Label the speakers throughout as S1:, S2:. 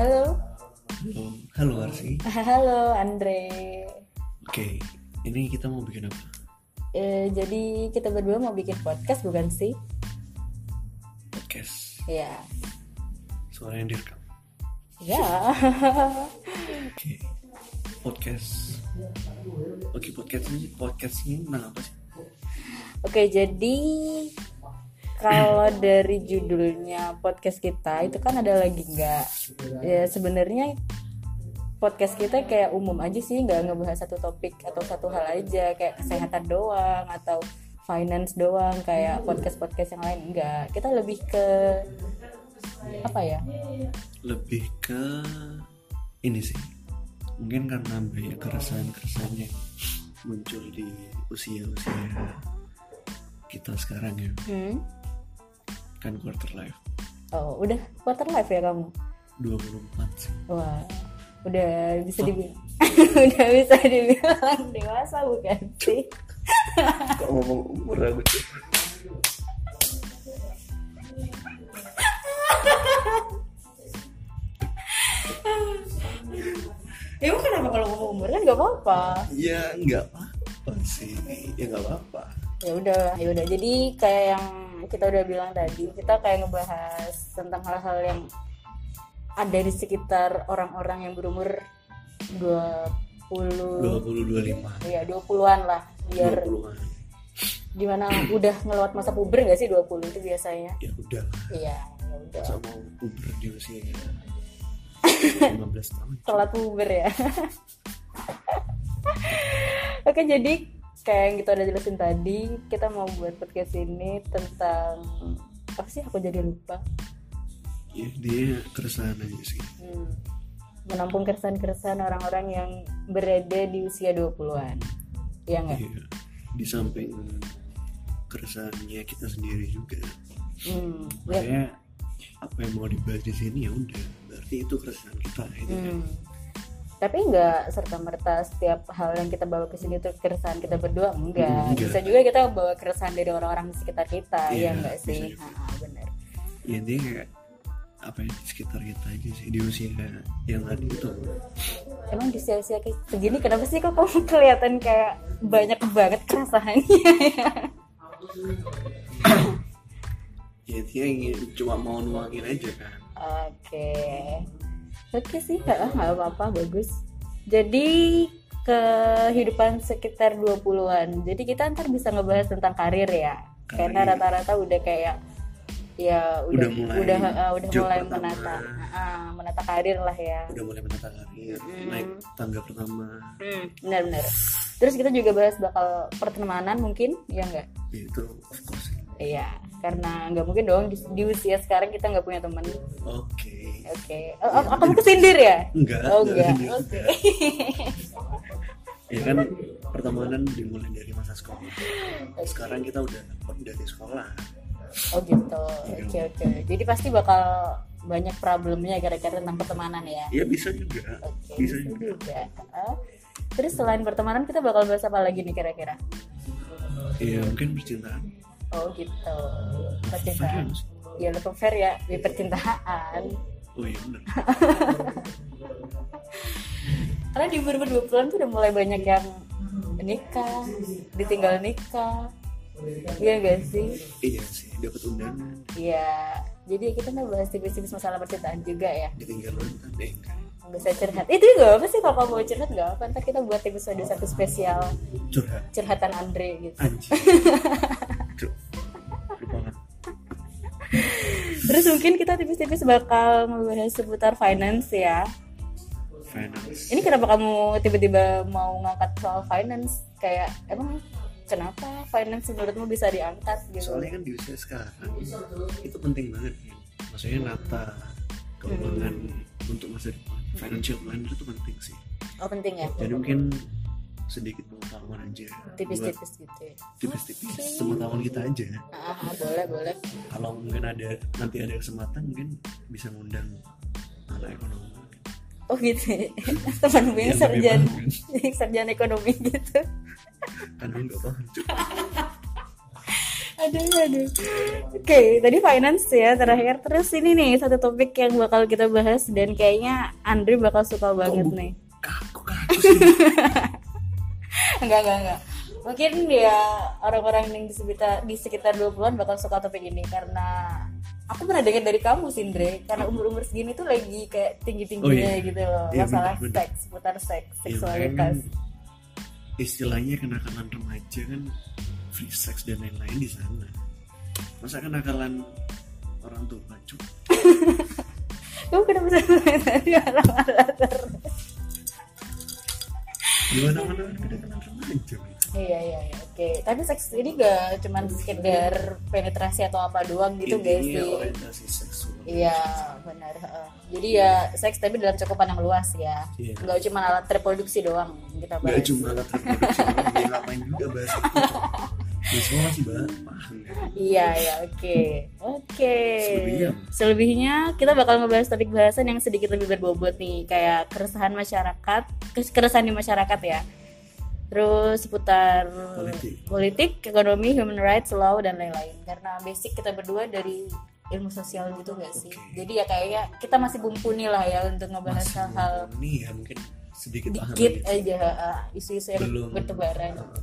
S1: Halo.
S2: Halo Arsi.
S1: Halo Andre.
S2: Oke, ini kita mau bikin apa?
S1: Eh, jadi kita berdua mau bikin podcast bukan sih?
S2: Podcast.
S1: Ya.
S2: Suara yang direkam.
S1: Ya.
S2: Oke. Podcast. Oke, podcast ini podcast ini tentang apa sih?
S1: Oke, jadi kalau dari judulnya podcast kita itu kan ada lagi nggak? Ya sebenarnya podcast kita kayak umum aja sih, nggak ngebahas satu topik atau satu hal aja, kayak kesehatan doang atau finance doang, kayak podcast-podcast yang lain enggak. Kita lebih ke apa ya?
S2: Lebih ke ini sih. Mungkin karena banyak keresahan-keresahan yang muncul di usia-usia kita sekarang ya,
S1: Hmm?
S2: kan quarter life.
S1: Oh, udah quarter life ya kamu?
S2: 24 sih.
S1: Wah, udah bisa dibilang udah bisa dibilang dewasa bukan sih?
S2: Kok ngomong umur aku?
S1: Ya emang kenapa kalau ngomong umur kan gak apa-apa.
S2: Ya nggak apa-apa sih. Ya nggak apa-apa.
S1: Ya udah, ya udah. Jadi kayak yang kita udah bilang tadi, kita kayak ngebahas tentang hal-hal yang ada di sekitar orang-orang yang berumur 20
S2: 20 25.
S1: ya 20-an lah biar
S2: 20-an.
S1: dimana udah ngelewat masa puber gak sih 20 itu biasanya
S2: Ya udah.
S1: iya ya udah
S2: Masa mau puber di usia 15 tahun.
S1: telat puber ya oke jadi kayak yang kita udah jelasin tadi kita mau buat podcast ini tentang apa sih aku jadi lupa
S2: Ya dia keresahan aja sih.
S1: Hmm, menampung keresahan-keresahan orang-orang yang berada di usia 20-an iya nggak?
S2: Iya. Di samping keresahannya kita sendiri juga.
S1: Hmm, iya.
S2: Makanya apa yang mau dibahas di sini ya udah. Berarti itu keresahan kita itu kan.
S1: Hmm. Tapi nggak serta merta setiap hal yang kita bawa ke sini itu keresahan kita berdua enggak.
S2: Hmm, enggak.
S1: Bisa juga kita bawa keresahan dari orang-orang di sekitar kita,
S2: Iya,
S1: ya enggak
S2: bisa
S1: sih?
S2: juga.
S1: Ha-ha, bener.
S2: Ya dia kayak apa yang di sekitar kita aja sih di usia yang tadi itu.
S1: Emang di usia-usia kayak segini kenapa sih kok kamu kelihatan kayak banyak banget keresahannya ya?
S2: Ya dia ingin cuma mau nuangin aja kan.
S1: Oke. Oke sih, ah, nggak apa-apa, bagus. Jadi kehidupan sekitar 20-an. Jadi kita ntar bisa ngebahas tentang karir ya. Karena
S2: Karir.
S1: rata-rata udah kayak ya udah
S2: Udah mulai
S1: udah ah, udah
S2: job
S1: mulai
S2: pertama.
S1: menata ah, menata karir lah ya.
S2: Udah mulai menata karir,
S1: Hmm.
S2: naik tangga pertama,
S1: Hmm, benar-benar. Terus kita juga bahas bakal pertemanan mungkin, ya enggak?
S2: Ya, itu of course
S1: Iya, karena nggak mungkin dong di, di usia sekarang kita nggak punya teman. Oke.
S2: oke
S1: Oh, oh,
S2: Iya.
S1: oh, kamu kesindir ya?
S2: enggak
S1: Oh, enggak.
S2: enggak.
S1: Oke.
S2: ya kan pertemanan dimulai dari masa sekolah sekarang kita udah dapat dari sekolah
S1: Oh gitu.
S2: Iya.
S1: Oke oke. Jadi pasti bakal banyak problemnya gara-gara tentang pertemanan ya.
S2: ya bisa juga
S1: Oke. bisa
S2: bisa juga
S1: juga. Heeh. Terus selain pertemanan kita bakal bahas apa lagi nih kira-kira?
S2: ya mungkin percintaan
S1: Oh gitu.
S2: Fair
S1: Percintaan.
S2: nggak sih?
S1: Ya lebih fair ya di percintaan.
S2: oh iya benar
S1: Karena di umur 20-an tuh udah mulai banyak yang nikah, ditinggal nikah. Iya gak sih?
S2: iya sih dapat undangan
S1: Iya. Jadi kita nggak bahas tipis-tipis masalah percintaan juga ya.
S2: ditinggal mantan eh enggak.
S1: nggak usah curhat itu juga apa sih kalau kamu mau curhat nggak apa ntar kita buat episode satu spesial
S2: curhat
S1: curhatan Andre gitu
S2: anjing Cuk. lupa kan
S1: terus mungkin kita tipis-tipis bakal ngebahas seputar finance ya
S2: finance
S1: ini kenapa kamu tiba-tiba mau ngangkat soal finance kayak emang kenapa finance menurutmu bisa diangkat gitu
S2: soalnya kan di usia sekarang itu penting banget kan maksudnya nata keuangan untuk masa depan financial planner itu penting sih
S1: oh penting ya
S2: jadi mungkin sedikit pengetahuan aja buat
S1: tipis-tipis gitu ya.
S2: tipis-tipis pengetahuan kita aja
S1: ah, ah, boleh boleh
S2: kalau mungkin ada nanti ada kesempatan mungkin bisa ngundang anak ekonomi
S1: oh gitu temanmu yang
S2: Yang lebih
S1: sarjana
S2: paham,
S1: yang sarjana ekonomi gitu
S2: kan gue nggak paham Cuk.
S1: oke aduh aduh oke tadi finance ya terakhir terus ini nih satu topik yang bakal kita bahas dan kayaknya Andri bakal suka banget
S2: bu-
S1: nih
S2: kaku kaku sih
S1: enggak enggak enggak mungkin ya orang-orang yang di sekitar di sekitar 20-an bakal suka topik ini karena aku pernah dengar dari kamu Sindre karena umur-umur segini tuh lagi kayak tinggi-tingginya
S2: Oh, iya.
S1: gitu loh
S2: Iya,
S1: masalah
S2: bener, bener.
S1: seks putar seks
S2: Ya, makanya
S1: seksualitas
S2: kan istilahnya kenakalan remaja kan free sex dan lain-lain di sana masa kenakalan orang tua cuk
S1: kamu kenapa sampai tadi marah-marah terus?
S2: gimana mana kan kenakalan remaja men.
S1: iya iya iya, oke tapi seks ini gak cuman sekedar penetrasi atau apa doang gitu guys
S2: Intinya
S1: sih
S2: Iya, orientasi seksual
S1: Iya benar. heeh. Jadi ya seks tapi dalam cakupan yang luas ya.
S2: Iya.
S1: Nggak cuma alat reproduksi doang yang kita bahas.
S2: Gak cuma alat reproduksi doang, ya ngapain juga bahas itu Cok. Ya semua masih bahas paham kan
S1: Iya ya oke oke.
S2: Selebihnya.
S1: Selebihnya kita bakal ngebahas topik bahasan yang sedikit lebih berbobot nih kayak keresahan masyarakat, kes- keresahan di masyarakat ya. Terus seputar
S2: Politik.
S1: politik, ekonomi, human rights, law dan lain-lain. Karena basic kita berdua dari ilmu sosial gitu gak sih?
S2: Oke.
S1: Jadi ya kayaknya kita masih mumpuni lah ya untuk ngebahas
S2: Masih
S1: hal-hal
S2: nih ya mungkin sedikit paham
S1: dikit
S2: aja.
S1: aja uh, isu-isu yang
S2: Belum
S1: bertebaran
S2: Uh,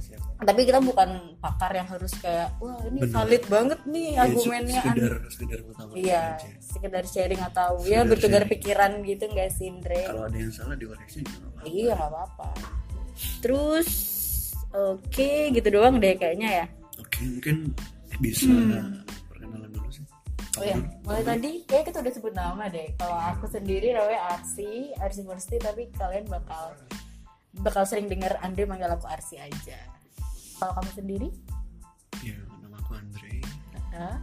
S2: siap.
S1: tapi kita bukan pakar yang harus kayak wah ini
S2: Bener.
S1: valid banget nih
S2: Ya,
S1: Iya, argumennya
S2: sekedar, sekedar mengetahui
S1: iya
S2: aja
S1: sekedar sharing atau ya
S2: Sekedar
S1: bertukar
S2: sharing.
S1: pikiran gitu nggak sih Indre
S2: Kalau ada yang salah dikoreksi juga nggak apa-apa.
S1: iya nggak apa-apa terus oke gitu doang deh kayaknya ya
S2: Oke, mungkin bisa perkenalan dulu sih.
S1: Hmm. Oh ya, mulai tadi kayak kita udah sebut nama deh. Kalau aku sendiri namanya Arsi, Arsi Mursti, tapi kalian bakal bakal sering dengar Andre manggil aku Arsi aja. Kalau kamu sendiri?
S2: Ya, nama aku Andre.
S1: Hah?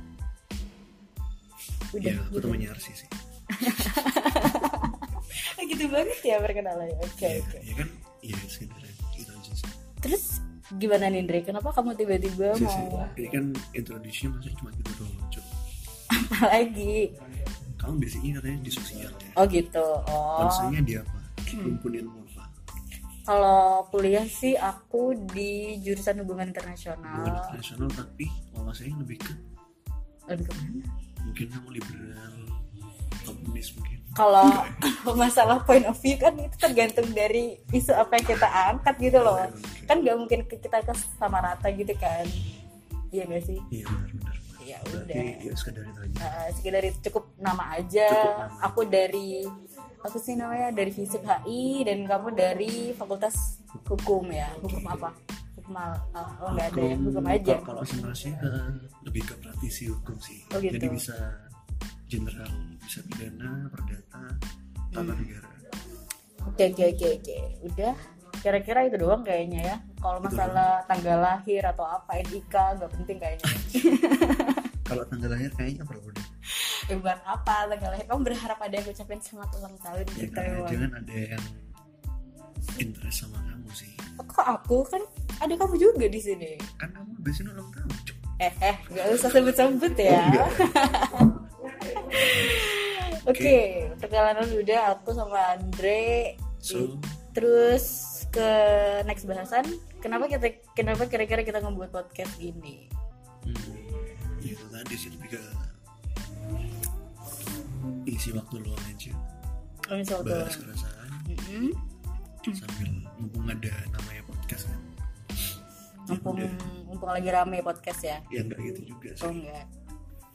S1: Udah
S2: Ya, aku
S1: gitu.
S2: temannya Arsi sih.
S1: gitu banget ya perkenalannya. Oke,
S2: Iya,
S1: oke.
S2: iya kan? Iya, sekedar itu aja sih.
S1: Terus gimana nih Andre? Kenapa kamu tiba-tiba
S2: Iya Sih, sih.
S1: mau
S2: Ini kan introduction maksudnya cuma gitu doang, Cuk.
S1: apa lagi?
S2: Kamu basicnya katanya di sosial ya.
S1: Oh gitu. Oh. Hmm.
S2: Concernnya di apa? Mumpuni ilmu apa?
S1: Kalau kuliah sih aku di jurusan hubungan
S2: Bukan
S1: internasional.
S2: internasional tapi wawasannya lebih ke
S1: Lebih kemana?
S2: mungkin kamu liberal, komunis mungkin.
S1: Kalau masalah point of view kan itu tergantung dari isu apa yang kita angkat gitu loh.
S2: Iya,
S1: Kan nggak mungkin kita ke sama rata gitu kan. Iya gak sih?
S2: Iya benar-benar.
S1: Ya
S2: Berarti
S1: udah.
S2: ya sekedar itu aja.
S1: Uh, sekedar itu cukup nama aja.
S2: Cukup nama.
S1: Aku dari aku sih namanya dari Fisip HI dan kamu dari Fakultas Hukum ya. Hukum apa? Hukum al- ah, oh nggak ada ya, hukum aja.
S2: Kalau konsentrasinya ke eh, lebih ke praktisi hukum sih.
S1: Oh, gitu.
S2: Jadi bisa general, bisa pidana, perdata,
S1: Hmm.
S2: tata negara.
S1: Oke oke oke oke. Udah kira-kira itu doang kayaknya ya. Kalau masalah tanggal lahir atau apa NIK nggak penting kayaknya.
S2: Kalau tanggal lahir kayaknya perlu deh.
S1: Eh, buat apa tanggal lahir? Kamu berharap ada yang ucapin selamat ulang tahun
S2: Ya,
S1: gitu.
S2: karena
S1: Wan.
S2: jangan ada yang interest sama kamu sih.
S1: Kok aku kan ada kamu juga di sini.
S2: Kan kamu biasanya ulang tahun, Cuk.
S1: Eh eh nggak usah sebut-sebut ya.
S2: Iya.
S1: Oke, perjalanan udah aku sama Andre.
S2: So,
S1: Terus ke next bahasan, kenapa kita kenapa kira-kira kita ngebuat podcast ini?
S2: hmm, ya itu tadi sih lebih ke isi waktu luang aja.
S1: Oh, misal tuh.
S2: Bahas kan? perasaan
S1: Mm-mm. Hmm.
S2: sambil mumpung ada namanya podcast kan. Iya,
S1: Mumpung mumpung lagi rame podcast ya.
S2: ya nggak gitu juga sih
S1: Oh enggak.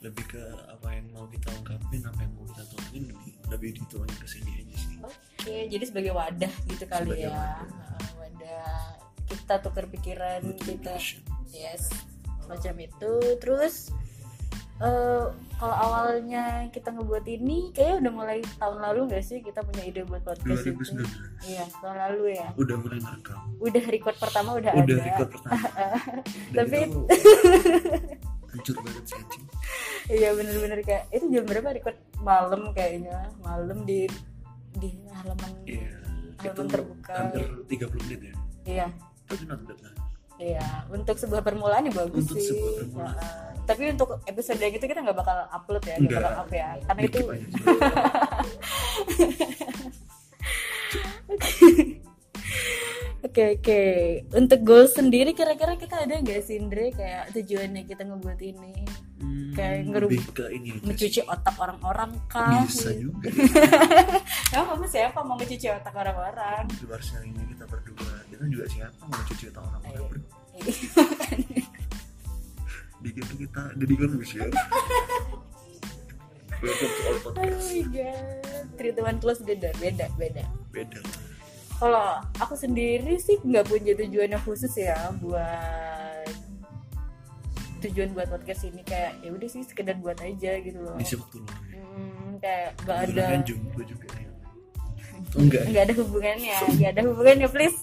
S2: lebih ke apa yang mau kita ungkapin apa yang mau kita tuangin lebih lebih dituangin ke sini aja sih
S1: Oke, jadi sebagai wadah gitu kali
S2: Sebagai
S1: ya. Wadah. wadah kita tukar pikiran kita.
S2: Motivation.
S1: Yes, macam itu. Terus eh, kalau awalnya kita ngebuat ini kayaknya udah mulai tahun lalu nggak sih kita punya ide buat podcast itu?
S2: 2019
S1: Iya, tahun lalu ya.
S2: udah mulai ngerekam
S1: Udah record pertama udah,
S2: udah
S1: ada.
S2: record pertama Dan
S1: Tapi-
S2: itu hancur banget sih anjing
S1: Iya bener-bener kayak itu jam berapa record malam kayaknya malam di di halaman
S2: iya itu
S1: Halaman terbuka.
S2: hampir 30 menit ya
S1: iya
S2: tapi not bad lah
S1: iya untuk sebuah permulaan ya bagus
S2: Untuk
S1: sih
S2: sebuah permulaan.
S1: Nah, tapi untuk episode yang itu kita nggak bakal upload ya nggak
S2: Nggak.
S1: bakal up ya karena itu
S2: Dikit aja sih.
S1: oke Oke oke. Untuk goal sendiri kira-kira kita ada nggak sih Indri kayak tujuannya kita ngebuat ini
S2: Hmm,
S1: Kayak ngerub-
S2: lebih ke ini aja sih.
S1: mencuci otak gitu. orang-orang kah? Iya.
S2: bisa juga ya.
S1: Kamu kamu siapa mau mencuci otak orang-orang?
S2: di luar sharing ini kita berdua kita juga siapa mau cuci otak orang
S1: Iya.
S2: orang ber dikit tuh kita jadi kan bisa Welcome to our
S1: oh
S2: podcast
S1: my god. Treatment close beda beda beda.
S2: beda
S1: Kalau aku sendiri sih nggak punya tujuan yang khusus ya buat tujuan buat podcast ini kayak ya udah sih sekedar buat aja gitu loh.
S2: ngisi waktu luang
S1: Hmm, kayak nggak ada
S2: Kebetulan jomblo juga ya. Oh, enggak ya?
S1: nggak ada hubungannya nggak ada hubungannya please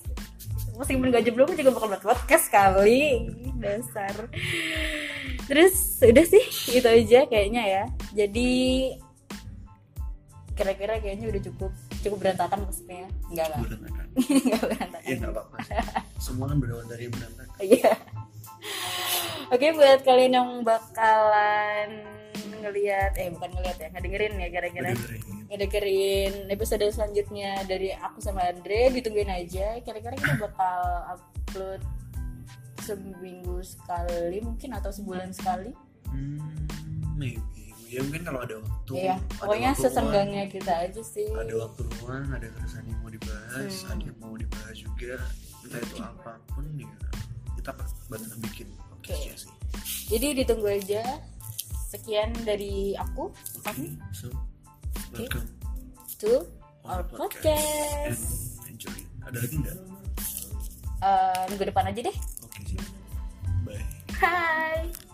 S1: meskipun gak jomblo aku juga bakal buat podcast kali dasar terus udah sih itu aja kayaknya ya jadi kira-kira kayaknya udah cukup cukup berantakan maksudnya enggak lah
S2: berantakan
S1: enggak berantakan
S2: ya nggak apa-apa sih. semua kan berawal dari yang berantakan
S1: Iya. Oke buat kalian yang bakalan ngelihat eh bukan ngelihat ya ngedengerin ya kira-kira
S2: Ngedengerin.
S1: ngedengerin episode selanjutnya dari aku sama Andre ditungguin aja kira-kira kita bakal upload seminggu sekali mungkin atau sebulan sekali
S2: hmm, maybe ya mungkin kalau ada waktu
S1: iya
S2: ada
S1: pokoknya
S2: waktu
S1: sesenggangnya kita aja sih
S2: luang, ada waktu luang ada keresahan yang mau dibahas
S1: Hmm.
S2: ada yang mau dibahas juga entah itu apapun ya kita bantu bikin podcastnya sih
S1: jadi ditunggu aja sekian dari aku
S2: oke
S1: Hmm.
S2: so welcome
S1: to
S2: on
S1: our
S2: the
S1: podcast
S2: and enjoy ada lagi nggak
S1: Eh, minggu depan aja deh
S2: oke sih bye
S1: Hi.